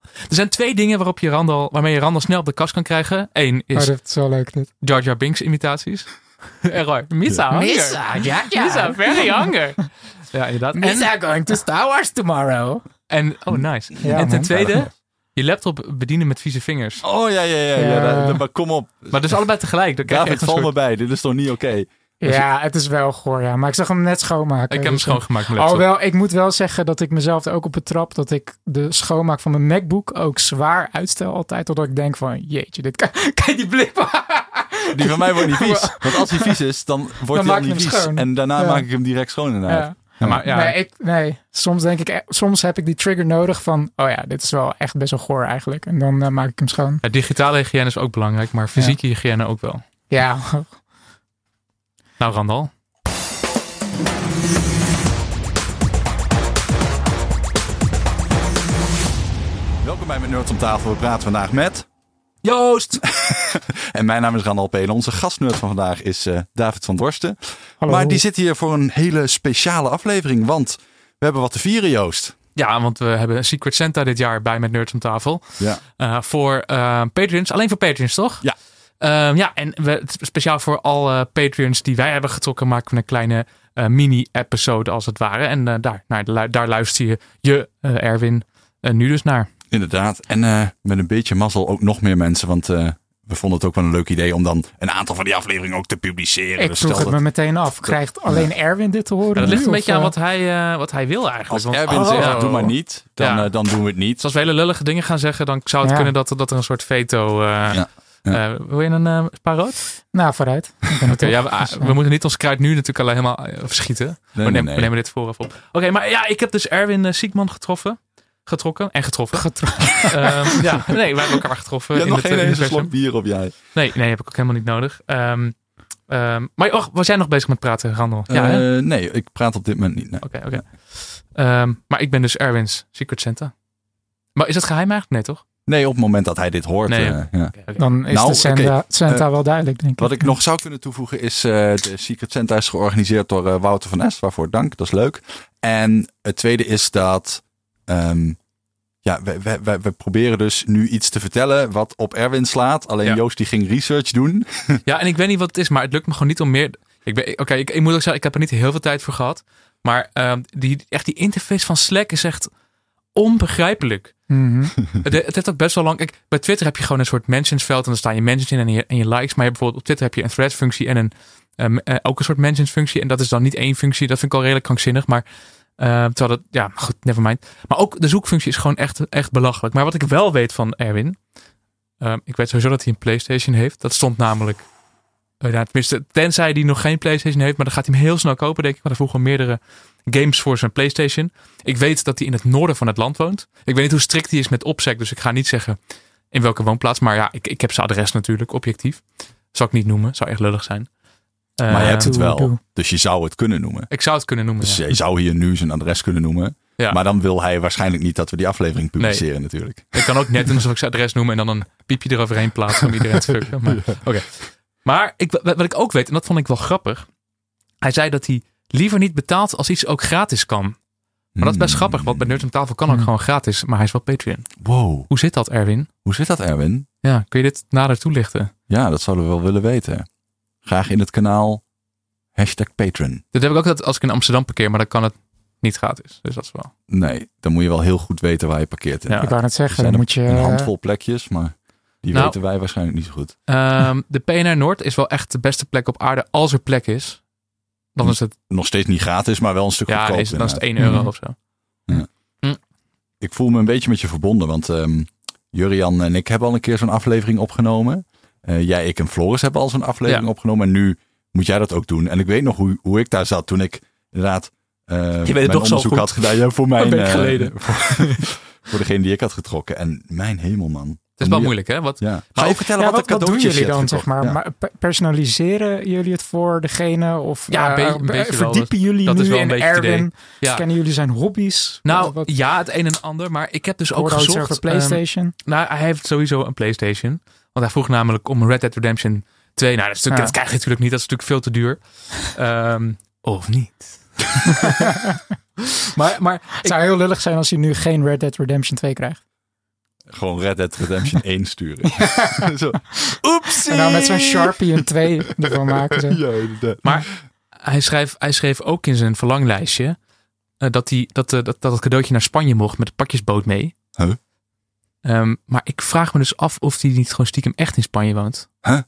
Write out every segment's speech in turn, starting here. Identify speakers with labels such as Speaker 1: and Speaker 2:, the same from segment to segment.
Speaker 1: Er zijn twee dingen waarop je Randall, waarmee je Randall snel op de kast kan krijgen. Eén
Speaker 2: Maar
Speaker 1: is
Speaker 2: dat is wel leuk dit.
Speaker 1: Jar Jar Binks imitaties. en Roy, Missa hunger.
Speaker 3: Missa, ah, ja, ja.
Speaker 1: Missa, very hunger. Ja, inderdaad. En,
Speaker 3: Missa going to Star Wars tomorrow.
Speaker 1: en, oh nice.
Speaker 2: Ja,
Speaker 1: en ten
Speaker 2: man.
Speaker 1: tweede, je laptop bedienen met vieze vingers.
Speaker 4: Oh ja, ja, ja. ja.
Speaker 2: Ja.
Speaker 4: dat- dat- maar kom op.
Speaker 1: Maar dus allebei tegelijk. Dan krijg je echt
Speaker 4: David,
Speaker 1: een
Speaker 4: val me
Speaker 1: soort-
Speaker 4: bij. Dit is toch niet oké?
Speaker 2: Ja, het is wel goor, ja. Maar ik zag hem net schoonmaken.
Speaker 1: Ik heb hem
Speaker 2: dus-
Speaker 1: schoongemaakt mijn laptop.
Speaker 2: Alhoewel, ik moet wel zeggen dat ik mezelf er ook op betrap dat ik de schoonmaak van mijn MacBook ook zwaar uitstel altijd. Totdat ik denk van, jeetje, dit kan, kijk die blip.
Speaker 4: Die van mij wordt niet vies. Want als hij vies is, dan
Speaker 2: Dan
Speaker 4: wordt hij
Speaker 2: maak
Speaker 4: al
Speaker 2: je
Speaker 4: niet
Speaker 2: hem
Speaker 4: vies.
Speaker 2: schoon.
Speaker 4: En daarna
Speaker 2: Ja.
Speaker 4: maak ik hem direct schoon inderdaad.
Speaker 2: Ja.
Speaker 1: Ja, maar ja,
Speaker 2: Nee, ik, nee, soms denk ik, e- soms heb ik die trigger nodig van, oh ja, dit is wel echt best wel goor eigenlijk. En dan eh, maak ik hem schoon.
Speaker 1: ja, digitale hygiëne is ook belangrijk, maar fysieke hygiëne ook wel.
Speaker 2: Ja,
Speaker 1: Nou, Randal.
Speaker 4: Welkom bij mijn Nerds om tafel. We praten vandaag met...
Speaker 1: Joost!
Speaker 4: En mijn naam is Randal Pelen. Onze gastnerd van vandaag is eh, David van Dorsten.
Speaker 2: hallo.
Speaker 4: Maar die zit hier voor een hele speciale aflevering. Want we hebben wat te vieren, Joost.
Speaker 1: Ja, want we hebben Secret Santa dit jaar bij met Nerds om tafel.
Speaker 4: Ja.
Speaker 1: Eh, voor eh Patreons. Alleen voor Patreons, toch?
Speaker 4: Ja.
Speaker 1: Ehm, ja, en we, het is speciaal voor alle Patreons die wij hebben getrokken, maken we een kleine eh, mini-episode als het ware. En eh, daar, naar de lu- daar luister je, je eh, Erwin, eh, nu dus naar.
Speaker 4: Inderdaad. En eh, met een beetje mazzel ook nog meer mensen. Want eh, we vonden het ook wel een leuk idee om dan een aantal van die afleveringen ook te publiceren.
Speaker 2: ik
Speaker 4: Dus
Speaker 2: vroeg
Speaker 4: stel
Speaker 2: het me
Speaker 4: dat-
Speaker 2: meteen af. Krijgt alleen Erwin dit te horen?
Speaker 1: Ja, dat ligt
Speaker 2: nu,
Speaker 1: een
Speaker 2: of,
Speaker 1: beetje aan
Speaker 2: eh,
Speaker 1: wat hij, eh, wat hij wil eigenlijk.
Speaker 4: Als
Speaker 1: Want-
Speaker 4: Erwin
Speaker 1: Oh.
Speaker 4: zegt,
Speaker 1: Ja.
Speaker 4: doe maar niet, dan,
Speaker 1: Ja.
Speaker 4: eh, dan doen we het niet.
Speaker 1: Dus als we hele lullige dingen gaan zeggen, dan zou het
Speaker 2: Ja.
Speaker 1: kunnen dat, dat er een soort veto... eh
Speaker 4: Ja. Ja.
Speaker 1: eh, wil je een eh, paroot?
Speaker 2: Nou, vooruit. Ik ben er
Speaker 1: Oké,
Speaker 2: toch.
Speaker 1: ja, we, ah,
Speaker 2: Dus, eh,
Speaker 1: we moeten niet ons kruid nu natuurlijk alleen helemaal eh, verschieten.
Speaker 4: Nee,
Speaker 1: we,
Speaker 4: nee,
Speaker 1: nemen,
Speaker 4: nee.
Speaker 1: we nemen dit vooraf op. Oké, maar ja, ik heb dus Erwin eh, Siekman getroffen. Getrokken en getroffen. Ehm, ja, nee, wij hebben elkaar getroffen.
Speaker 4: Je hebt nog
Speaker 1: het,
Speaker 4: geen
Speaker 1: eh,
Speaker 4: ene
Speaker 1: universum.
Speaker 4: slok bier op jij.
Speaker 1: Nee, nee, heb ik ook helemaal niet nodig. Ehm, ehm, maar och, was jij nog bezig met praten, Randall? ja, hè? oké,
Speaker 4: Eh, nee, ik praat op dit moment niet. nee.
Speaker 1: oké. Ehm, maar ik ben dus Erwin's Secret Santa. Maar is dat geheim eigenlijk? Nee, toch?
Speaker 4: Nee, op het moment dat hij dit hoort.
Speaker 1: Nee.
Speaker 4: eh, ja.
Speaker 1: Oké, oké.
Speaker 2: Dan is
Speaker 4: Nou,
Speaker 2: de Santa,
Speaker 4: oké.
Speaker 2: Santa
Speaker 4: Eh,
Speaker 2: wel duidelijk, denk ik.
Speaker 4: Wat ik nog zou kunnen toevoegen is, eh, de Secret Center is georganiseerd door eh, Wouter van Es, waarvoor dank, dat is leuk. En het tweede is dat, ehm, ja, we, we, we, we proberen dus nu iets te vertellen wat op Erwin slaat. Alleen
Speaker 1: Ja.
Speaker 4: Joost die ging research doen.
Speaker 1: Ja, en ik weet niet wat het is, maar het lukt me gewoon niet om meer. Ik ben, oké, ik, ik moet ook zeggen, ik heb er niet heel veel tijd voor gehad. Maar ehm, die, echt die interface van Slack is echt onbegrijpelijk.
Speaker 2: Mhm.
Speaker 1: Het, het heeft ook best wel lang. Kijk, bij Twitter heb je gewoon een soort mentionsveld. En dan staan je mentions in en je, en je likes. Maar je, hebt bijvoorbeeld op Twitter heb je een thread functie en een, ehm, eh, ook een soort mentions functie. En dat is dan niet één functie. Dat vind ik al redelijk krankzinnig. Maar ehm, terwijl dat, ja, goed, never mind. Maar ook de zoekfunctie is gewoon echt, echt belachelijk. Maar wat ik wel weet van Erwin. ehm, ik weet sowieso dat hij een PlayStation heeft. Dat stond namelijk. eh, nou, tenminste, tenzij hij nog geen PlayStation heeft. Maar dan gaat hij hem heel snel kopen, denk ik. Want hij vroeg al meerdere games voor zijn PlayStation. Ik weet dat hij in het noorden van het land woont. Ik weet niet hoe strikt hij is met opzek, dus ik ga niet zeggen in welke woonplaats. Maar ja, ik, ik heb zijn adres natuurlijk, objectief. Zal ik niet noemen, zou echt lullig zijn. Eh,
Speaker 4: maar je hebt het
Speaker 2: doe,
Speaker 4: wel,
Speaker 2: doe.
Speaker 4: dus je zou het kunnen noemen.
Speaker 1: Ik zou het kunnen noemen.
Speaker 4: Dus
Speaker 1: ja.
Speaker 4: je zou hier nu zijn adres kunnen noemen.
Speaker 1: Ja.
Speaker 4: Maar dan wil hij waarschijnlijk niet dat we die aflevering publiceren natuurlijk.
Speaker 1: Ik kan ook net doen alsof ik zijn adres noem en dan een piepje eroverheen plaatsen om iedereen te fucken. Maar, oké. maar ik, wat wat ik ook weet, en dat vond ik wel grappig. Hij zei dat hij liever niet betaalt als iets ook gratis kan. Maar dat is best
Speaker 4: Hmm.
Speaker 1: grappig, want bij Nerds om Tafel kan ook
Speaker 2: Hmm.
Speaker 1: gewoon gratis. Maar hij is wel Patreon.
Speaker 4: Wow,
Speaker 1: Hoe zit dat, Erwin?
Speaker 4: hoe zit dat Erwin?
Speaker 1: Ja, kun je dit nader toelichten?
Speaker 4: Ja, dat zouden we wel willen weten. Graag in het kanaal hashtag patron.
Speaker 1: Dat heb ik ook dat als ik in Amsterdam parkeer, maar dan kan het niet gratis. Dus dat is wel.
Speaker 4: Nee, dan moet je wel heel goed weten waar je parkeert.
Speaker 1: Ja.
Speaker 2: Ik wou net
Speaker 4: Er
Speaker 2: zeggen,
Speaker 4: zijn
Speaker 2: dan
Speaker 4: een,
Speaker 2: moet je... eh,
Speaker 4: een handvol plekjes, maar die
Speaker 1: Nou.
Speaker 4: weten wij waarschijnlijk niet zo goed.
Speaker 1: Ehm, de PNR Noord is wel echt de beste plek op aarde als er plek is. Dan is het,
Speaker 4: Nog steeds niet gratis, maar wel een stuk
Speaker 1: ja,
Speaker 4: goedkoop.
Speaker 1: is, dan is het
Speaker 4: inderdaad. Hmm.
Speaker 1: 1 euro
Speaker 2: Mhm.
Speaker 1: of zo.
Speaker 4: Ik voel me een beetje met je verbonden, want ehm Jurian en ik hebben al een keer zo'n aflevering opgenomen. Eh, jij, ik en Floris hebben al zo'n aflevering
Speaker 1: Ja.
Speaker 4: opgenomen. En nu moet jij dat ook doen. En ik weet nog hoe, hoe ik daar zat toen ik inderdaad eh
Speaker 1: het
Speaker 4: mijn
Speaker 1: toch zo
Speaker 4: onderzoek
Speaker 1: goed.
Speaker 4: had gedaan. Ja, voor mijn,
Speaker 1: Een week
Speaker 4: eh,
Speaker 1: geleden.
Speaker 4: voor, voor degene die ik had getrokken. En mijn hemel, man.
Speaker 1: Het is wel moeilijk, hè? Wat,
Speaker 4: Ja.
Speaker 1: Maar
Speaker 4: Ga je
Speaker 1: ook-
Speaker 4: vertellen
Speaker 2: Ja,
Speaker 4: wat,
Speaker 2: wat,
Speaker 4: de
Speaker 2: wat doen
Speaker 4: cadeautjes
Speaker 2: jullie
Speaker 4: je hebt
Speaker 2: dan, zeg
Speaker 4: gekocht?
Speaker 2: maar?
Speaker 4: Ja.
Speaker 2: Maar pe- Personaliseren jullie het voor degene? Of
Speaker 1: Ja,
Speaker 2: eh,
Speaker 1: een be- een beetje wel.
Speaker 2: verdiepen jullie
Speaker 1: Dat
Speaker 2: nu
Speaker 1: is wel een
Speaker 2: in
Speaker 1: beetje het idee.
Speaker 2: Erwin? Dus
Speaker 1: ja.
Speaker 2: Kennen jullie zijn hobby's?
Speaker 1: Nou,
Speaker 2: Wat- wat,
Speaker 1: ja, het een en ander. Maar ik heb dus
Speaker 2: ook
Speaker 1: ook gezocht.
Speaker 2: over
Speaker 1: ehm,
Speaker 2: PlayStation?
Speaker 1: nou, hij heeft sowieso een PlayStation. Want hij vroeg namelijk om Red Dead Redemption 2. Nou, dat, is natuurlijk,
Speaker 2: Ja.
Speaker 1: dat krijg je natuurlijk niet. Dat is natuurlijk veel te duur. Ehm, of niet. maar, maar
Speaker 2: het zou heel lullig zijn als je nu geen Red Dead Redemption 2 krijgt.
Speaker 4: Gewoon Red Dead Redemption 1 sturen. Zo. Oepsie!
Speaker 2: En dan met zo'n Sharpie een 2 ervan maken. Zo.
Speaker 4: Ja, inderdaad.
Speaker 1: Hij schreef, hij schreef ook in zijn verlanglijstje eh, dat, hij, dat, eh, dat, dat het cadeautje naar Spanje mocht met de pakjesboot mee.
Speaker 4: Huh?
Speaker 1: Ehm, maar ik vraag me dus af of hij niet gewoon stiekem echt in Spanje woont.
Speaker 4: Maar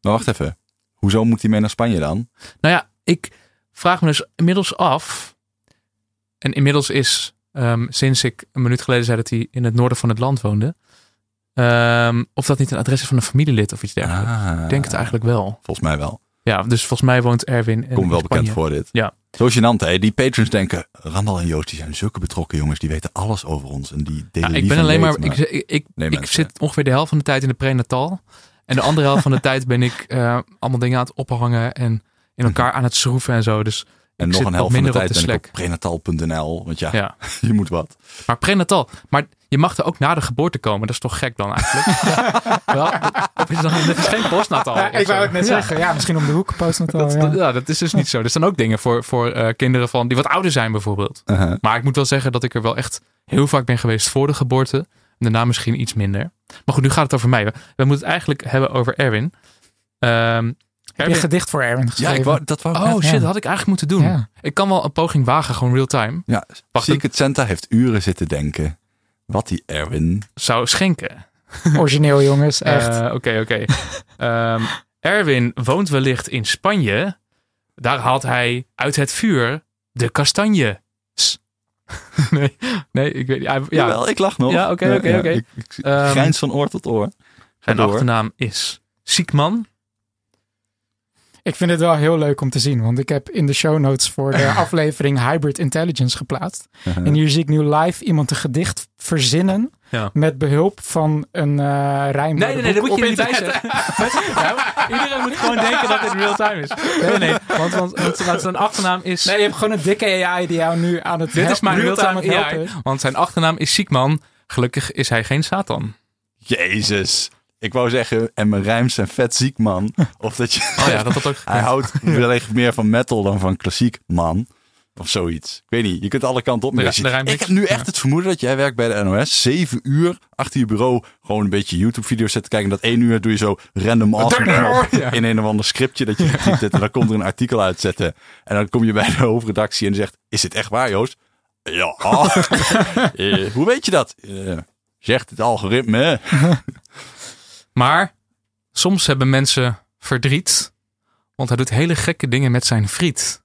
Speaker 4: wacht even. Hoezo moet hij mee naar Spanje dan?
Speaker 1: Nou ja, ik vraag me dus inmiddels af. En inmiddels is, ehm, sinds ik een minuut geleden zei dat hij in het noorden van het land woonde. ehm, of dat niet een adres is van een familielid of iets dergelijks.
Speaker 4: Ah,
Speaker 1: Ik denk het eigenlijk wel.
Speaker 4: Volgens mij wel.
Speaker 1: Ja, dus volgens mij woont Erwin in
Speaker 4: Kom wel
Speaker 1: Spanje.
Speaker 4: bekend voor dit.
Speaker 1: Ja.
Speaker 4: Zo gênant, hè? Die patrons denken, Randal en Joost, die zijn zulke betrokken jongens. Die weten alles over ons. En die
Speaker 1: Ja,
Speaker 4: delen
Speaker 1: ik
Speaker 4: lief
Speaker 1: ben
Speaker 4: en
Speaker 1: alleen maar,
Speaker 4: leed,
Speaker 1: ik, ik, ik,
Speaker 4: Nee,
Speaker 1: ik
Speaker 4: mensen.
Speaker 1: zit ongeveer de helft van de tijd in de prenatal. En de andere helft van de tijd ben ik eh, allemaal dingen aan het ophangen en in elkaar aan het schroeven en zo. Dus
Speaker 4: En
Speaker 1: ik
Speaker 4: nog
Speaker 1: zit
Speaker 4: een
Speaker 1: wat
Speaker 4: helft van de
Speaker 1: minder op
Speaker 4: tijd
Speaker 1: de
Speaker 4: ben ik op
Speaker 1: slack.
Speaker 4: prenatal.nl. Want ja,
Speaker 1: ja.
Speaker 4: je moet wat.
Speaker 1: Maar prenatal, maar je mag er ook na de geboorte komen. Dat is toch gek dan eigenlijk? Wel, dat- dat is dan, dat is geen postnatal.
Speaker 2: Ja, ik
Speaker 1: of zo.
Speaker 2: wou het net
Speaker 1: Ja.
Speaker 2: zeggen. Ja, misschien om de hoek postnatal.
Speaker 1: Dat,
Speaker 2: Oh, ja.
Speaker 1: dat- ja, dat is dus niet zo. Er zijn ook dingen voor, voor eh, kinderen van, die wat ouder zijn bijvoorbeeld.
Speaker 4: Uh-huh.
Speaker 1: Maar ik moet wel zeggen dat ik er wel echt heel vaak ben geweest voor de geboorte. En daarna misschien iets minder. Maar goed, nu gaat het over mij. We, we moeten het eigenlijk hebben over Erwin. Ehm,
Speaker 2: Heb je een
Speaker 1: Erwin-
Speaker 2: gedicht voor Erwin
Speaker 4: Ja,
Speaker 2: geschreven?
Speaker 4: ik wou, dat wou ik
Speaker 1: oh
Speaker 4: net-
Speaker 1: shit,
Speaker 2: ja.
Speaker 1: dat had ik eigenlijk moeten doen.
Speaker 2: Ja.
Speaker 1: Ik kan wel een poging wagen, gewoon real time.
Speaker 4: Ja,
Speaker 1: Wacht,
Speaker 4: Secret Santa heeft uren zitten denken. Wat die Erwin.
Speaker 1: Zou schenken.
Speaker 2: Origineel, jongens.
Speaker 1: Eh,
Speaker 2: Echt.
Speaker 1: Oké, oké. Ehm, Erwin woont wellicht in Spanje. Daar haalt hij uit het vuur de kastanje. Nee, nee, ik weet niet. Hij- Ja,
Speaker 4: Jawel, ik lach nog.
Speaker 1: Ja, oké,
Speaker 4: Ja,
Speaker 1: oké,
Speaker 4: ja,
Speaker 1: oké.
Speaker 4: ik- ik
Speaker 1: Ehm,
Speaker 4: Grijns van oor tot oor. Ga
Speaker 1: zijn
Speaker 4: door.
Speaker 1: achternaam is Ziekman.
Speaker 2: Ik vind het wel heel leuk om te zien, want ik heb in de show notes voor de aflevering Hybrid Intelligence geplaatst.
Speaker 4: Uh-huh.
Speaker 2: En hier zie ik nu live iemand een gedicht verzinnen
Speaker 1: Ja.
Speaker 2: met behulp van een eh rijm.
Speaker 1: Nee, nee, nee, dat moet je niet bij zeggen. Ja, maar Nou,
Speaker 2: Nou,
Speaker 1: iedereen moet gewoon denken dat dit real-time is. Nee, nee, want, want, want, want zijn achternaam is...
Speaker 2: Nee, je hebt gewoon een dikke AI die jou nu aan het
Speaker 1: dit is mijn
Speaker 2: aan het
Speaker 1: real-time
Speaker 2: helpen.
Speaker 1: AI. Want zijn achternaam is Ziekman. Gelukkig is hij geen Satan.
Speaker 4: Jezus. Ik wou zeggen, en mijn rijms zijn vet ziek, man. Of dat je...
Speaker 1: Oh ja, dat had ook...
Speaker 4: Hij houdt wellicht meer van metal dan van klassiek, man. Of zoiets. Ik weet niet. Je kunt alle kanten op met
Speaker 1: Ja,
Speaker 4: deze.
Speaker 1: de rijm-
Speaker 4: Ik heb nu echt het vermoeden dat jij werkt bij de NOS. Zeven uur achter je bureau gewoon een beetje YouTube-video's zitten kijken. En dat één uur doe je zo random awesome
Speaker 1: Ja.
Speaker 4: in een of ander scriptje dat je ziet zitten. En dan komt er een artikel uitzetten. En dan kom je bij de hoofdredactie en zegt, is dit echt waar, Joost? Ja. Eh, hoe weet je dat? Eh, zegt het algoritme.
Speaker 1: Maar soms hebben mensen verdriet, want hij doet hele gekke dingen met zijn friet.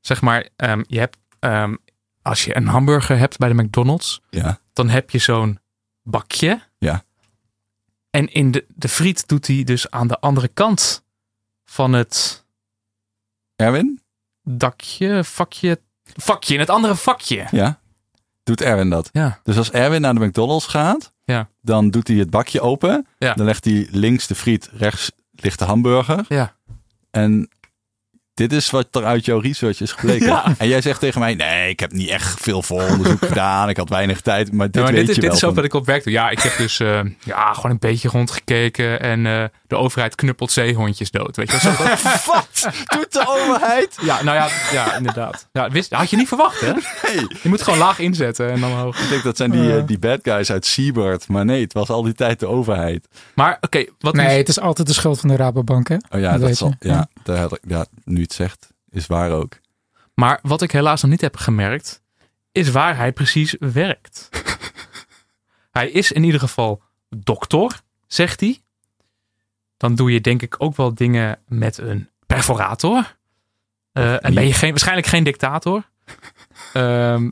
Speaker 1: Zeg maar, ehm, je hebt, ehm, als je een hamburger hebt bij de McDonald's,
Speaker 4: Ja.
Speaker 1: dan heb je zo'n bakje.
Speaker 4: Ja.
Speaker 1: En in de, de friet doet hij dus aan de andere kant van het
Speaker 4: Erwin?
Speaker 1: dakje, vakje, vakje, in het andere vakje.
Speaker 4: Ja. Doet Erwin dat?
Speaker 1: Ja.
Speaker 4: Dus als Erwin naar de McDonald's gaat,
Speaker 1: Ja.
Speaker 4: dan doet hij het bakje open.
Speaker 1: Ja.
Speaker 4: Dan legt hij links de friet, rechts ligt de hamburger.
Speaker 1: Ja.
Speaker 4: En dit is wat er uit jouw research is gebleken.
Speaker 1: Ja.
Speaker 4: En jij zegt tegen mij, nee, ik heb niet echt veel vooronderzoek gedaan. Ik had weinig tijd, maar dit
Speaker 1: Ja, maar
Speaker 4: weet
Speaker 1: dit, is,
Speaker 4: je
Speaker 1: dit
Speaker 4: wel.
Speaker 1: is ook
Speaker 4: van-
Speaker 1: wat ik op werk doe. Ja, ik heb dus eh, ja, gewoon een beetje rondgekeken. En eh, de overheid knuppelt zeehondjes dood. Weet je wel, zo dat-
Speaker 4: Wat doet de overheid?
Speaker 1: Ja, nou ja, ja inderdaad. Ja, wist, had je niet verwacht, hè?
Speaker 4: Nee.
Speaker 1: Je moet gewoon laag inzetten en dan hoog.
Speaker 4: Ik denk dat zijn die, eh, die bad guys uit Seabird. Maar nee, het was al die tijd de overheid.
Speaker 1: Maar oké, wat
Speaker 2: Nee,
Speaker 1: is-
Speaker 2: het is altijd de schuld van de Rabobank, hè?
Speaker 4: Oh ja,
Speaker 2: Dat
Speaker 4: dat,
Speaker 2: weet
Speaker 4: zal,
Speaker 2: je.
Speaker 4: ja, daar had ik- ja, nu je het zegt, is waar ook.
Speaker 1: maar wat ik helaas nog niet heb gemerkt, is waar hij precies werkt. hij is in ieder geval dokter, zegt hij. Dan doe je denk ik ook wel dingen met een perforator. Eh, en ben je geen, waarschijnlijk geen dictator. Ehm,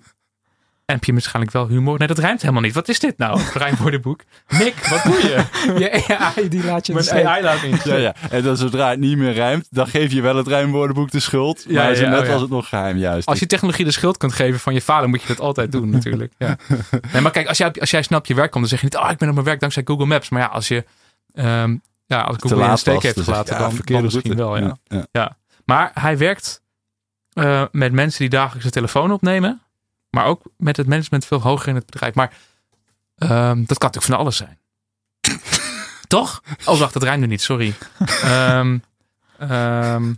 Speaker 1: en heb je waarschijnlijk wel humor. Nee, dat rijmt helemaal niet. Wat is dit nou? Rijmwoordenboek. Nick, wat doe je?
Speaker 2: Je AI die laat je in
Speaker 1: Mijn
Speaker 2: de steek.
Speaker 1: AI laat dus- niet.
Speaker 4: Ja, ja. En dan zodra het niet meer rijmt, dan geef je wel het rijmwoordenboek de schuld.
Speaker 1: Ja,
Speaker 4: maar zo
Speaker 1: ja,
Speaker 4: net
Speaker 1: oh ja.
Speaker 4: was het nog geheim, juist.
Speaker 1: Als je technologie de schuld kunt geven van je vader, moet je dat altijd doen natuurlijk. Ja. Nee, maar kijk, als jij, als jij snel op je werk komt, dan zeg je niet, oh, ik ben op mijn werk dankzij Google Maps. Maar ja, als je, ehm, ja, als Google je in de steek
Speaker 4: dus-
Speaker 1: heeft gelaten, dan, dan misschien wel. Ja. Maar hij werkt eh, met mensen die dagelijks de telefoon opnemen, maar ook met het management veel hoger in het bedrijf. Maar ehm, dat kan natuurlijk van alles zijn. Toch? Oh, wacht, dat rijmde niet, sorry. Ehm, ehm,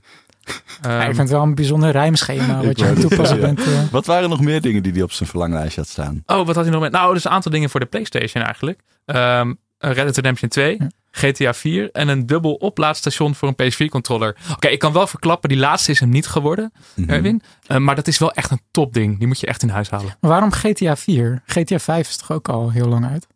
Speaker 2: Ja,
Speaker 1: Ehm,
Speaker 2: ik vind het wel een bijzonder rijmschema
Speaker 4: Ik
Speaker 2: wat je aan
Speaker 4: wou
Speaker 2: het
Speaker 4: het
Speaker 2: toepassen
Speaker 4: zeggen.
Speaker 2: bent. eh.
Speaker 4: Wat waren nog meer dingen die hij op zijn verlanglijstje had staan?
Speaker 1: Oh, wat had hij nog met? Nou, dus een aantal dingen voor de PlayStation eigenlijk. Ehm een Red Dead Redemption 2,
Speaker 2: Ja.
Speaker 1: GTA 4 en een dubbel oplaadstation voor een PS4-controller. Oké, ik kan wel verklappen, die laatste is hem niet geworden,
Speaker 4: Mhm.
Speaker 1: Erwin. Eh, maar dat is wel echt een topding. Die moet je echt in huis halen.
Speaker 2: Maar waarom GTA 4? GTA 5 is toch ook al heel lang uit?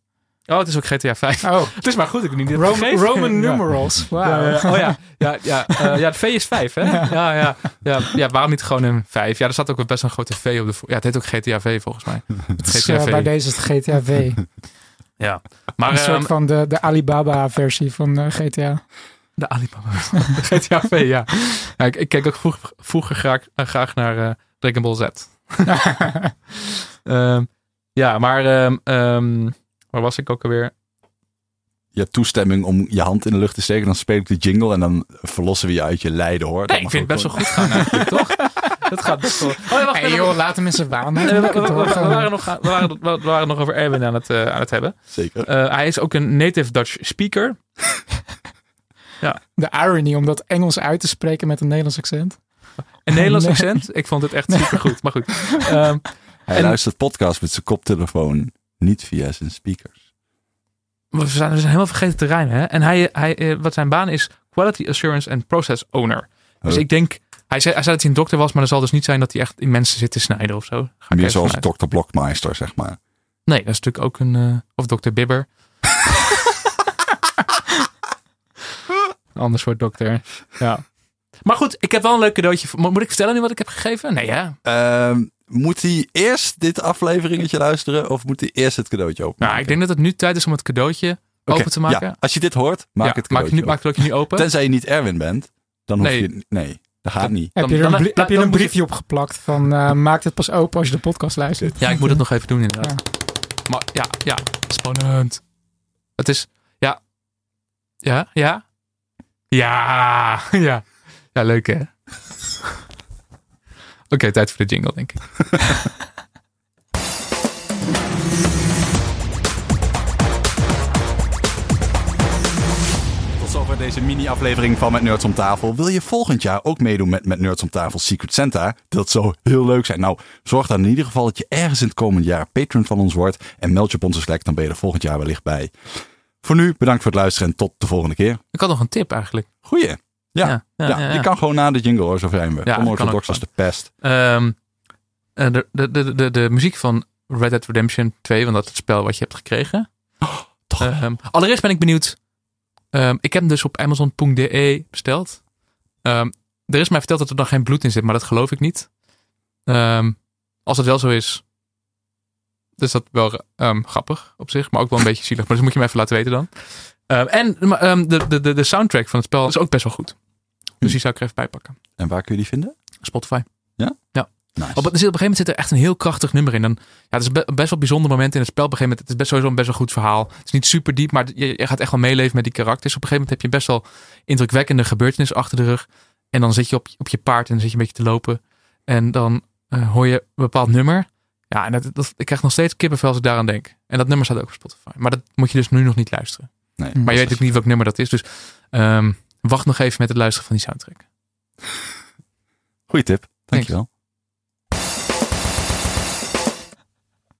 Speaker 1: Oh, het is ook GTA 5.
Speaker 2: Oh,
Speaker 1: Het is maar goed, ik heb niet dit
Speaker 2: Roman,
Speaker 1: vergeten.
Speaker 2: Roman
Speaker 1: Ja.
Speaker 2: numerals.
Speaker 1: Ja,
Speaker 2: Wauw.
Speaker 1: ja, ja. oh ja, ja, ja, eh, ja, de V is 5, hè? Ja. Ja, ja, ja, waarom niet gewoon een 5? Ja, er staat ook best een grote V op de... vo- Ja, het heet ook GTA V volgens mij. Het
Speaker 2: Dus, eh,
Speaker 1: GTA
Speaker 2: bij
Speaker 1: V.
Speaker 2: deze is het GTA V.
Speaker 1: Ja. Maar,
Speaker 2: een soort
Speaker 1: ehm,
Speaker 2: van de, de Alibaba-versie van eh, GTA.
Speaker 1: De Alibaba. GTA V, ja. ja ik, ik keek ook vroeg- vroeger graag, eh, graag naar eh, Dragon Ball Z. Ehm, ja, maar ehm, ehm, waar was ik ook alweer?
Speaker 4: Je toestemming om je hand in de lucht te steken, dan speel ik de jingle en dan verlossen we je uit je lijden hoor.
Speaker 1: Nee, ik vind het best wel goed gaan eigenlijk, toch? Dat gaat best wel. Oh, nee, wacht,
Speaker 2: Hey
Speaker 1: nee,
Speaker 2: joh, laat hem in zijn baan.
Speaker 1: nee, we, we-
Speaker 2: Lekker
Speaker 1: we- we- we- we
Speaker 2: doorgaan.
Speaker 1: waren nog, we, waren, we waren nog over Erwin aan het, eh, aan het hebben.
Speaker 4: goed. Zeker.
Speaker 1: Eh, hij is ook een native Dutch speaker.
Speaker 2: De irony om dat Engels uit te spreken met een Nederlands accent.
Speaker 1: Een Nederlands
Speaker 2: Nee.
Speaker 1: accent. Ik vond het echt supergoed. Maar goed. Ehm,
Speaker 4: Hij
Speaker 1: en-
Speaker 4: luistert podcast met zijn koptelefoon, niet via zijn speakers.
Speaker 1: We zijn, we zijn helemaal vergeten te rijmen. Hè? En hij, hij, eh, wat zijn baan is, Quality Assurance and Process Owner. Dus
Speaker 4: Oh.
Speaker 1: ik denk, hij zei, hij zei dat hij een dokter was, maar dat zal dus niet zijn dat hij echt in mensen zit te snijden of zo. Ga ik
Speaker 4: Meer
Speaker 1: even
Speaker 4: zoals
Speaker 1: vanuit.
Speaker 4: Dr. Blokmeister, zeg maar.
Speaker 1: Nee, dat is natuurlijk ook een, eh, of dokter Bibber. een ander soort dokter. Ja. Maar goed, ik heb wel een leuk cadeautje. voor- Mo- Moet ik vertellen nu wat ik heb gegeven? Nee, ja.
Speaker 4: Ehm, moet hij eerst dit afleveringetje luisteren of moet hij eerst het cadeautje open?
Speaker 1: Nou, ik denk dat het nu tijd is om het cadeautje open te maken. Ja,
Speaker 4: als je dit hoort, maak het
Speaker 1: maak,
Speaker 4: cadeautje
Speaker 1: nu, maak het cadeautje nu open.
Speaker 4: Tenzij je niet Erwin bent, dan hoef
Speaker 1: Nee.
Speaker 4: je... Nee, dat gaat niet.
Speaker 2: Heb
Speaker 1: Dan-
Speaker 2: je er
Speaker 1: dan-
Speaker 2: een, brie-
Speaker 1: dan-
Speaker 2: heb je er
Speaker 1: dan
Speaker 2: een
Speaker 1: moet je-
Speaker 2: briefje opgeplakt van eh, maak dit pas open als je de podcast luistert.
Speaker 1: Ja, ik moet het nog even doen inderdaad. Maar ja, ja, spannend. Het is, ja. Ja, ja. Ja, ja. Ja, leuk hè? Oké, tijd voor de jingle denk ik.
Speaker 4: Tot zover deze mini-aflevering van Met Nerds om Tafel. Wil je volgend jaar ook meedoen met Met Nerds om Tafel Secret Santa? Dat zou heel leuk zijn. Nou, zorg dan in ieder geval dat je ergens in het komend jaar patron van ons wordt. En meld je op onze Slack, dan ben je er volgend jaar wellicht bij. Voor nu, bedankt voor het luisteren en tot de volgende keer.
Speaker 1: Ik had nog een tip eigenlijk.
Speaker 4: Goeie. Ja,
Speaker 1: ja, ja, ja.
Speaker 4: je kan gewoon na de jingle hoor, zo zijn we.
Speaker 1: kan
Speaker 4: Onorthodox
Speaker 1: ook
Speaker 4: als de pest.
Speaker 1: Ehm, eh, de, de, de, de, de muziek van Red Dead Redemption 2, want dat is het spel wat je hebt gekregen.
Speaker 4: toch.
Speaker 1: Ehm, allereerst ben ik benieuwd. Ehm, ik heb hem dus op Amazon.de besteld. Ehm, er is mij verteld dat er dan geen bloed in zit, maar dat geloof ik niet. Ehm, als het wel zo is, is dat wel ehm, grappig op zich, maar ook wel een beetje zielig. Maar dat moet je me even laten weten dan. Ehm, en maar, ehm, de, de, de, de soundtrack van het spel is ook best wel goed. Dus die zou ik er even bij pakken.
Speaker 4: En waar kun je die vinden?
Speaker 1: Spotify.
Speaker 4: Nice.
Speaker 1: Op, er zit- op een gegeven moment zit er echt een heel krachtig nummer in. Dan, ja, het is be- best wel een bijzonder moment in het spel. Op een gegeven moment, het is best sowieso een best wel goed verhaal. Het is niet super diep, maar je, je gaat echt wel meeleven met die karakters. Op een gegeven moment heb je best wel indrukwekkende gebeurtenissen achter de rug. En dan zit je op, op je paard en dan zit je een beetje te lopen. En dan eh, hoor je een bepaald nummer. Ja, en dat, dat, ik krijg nog steeds kippenvel als ik daaraan denk. En dat nummer staat ook op Spotify. Maar dat moet je dus nu nog niet luisteren.
Speaker 4: Nee,
Speaker 1: Maar je weet ook niet welk nummer Mm, dat is. Dus ehm, wacht nog even met het luisteren van die soundtrack.
Speaker 4: Goeie tip. Dankjewel.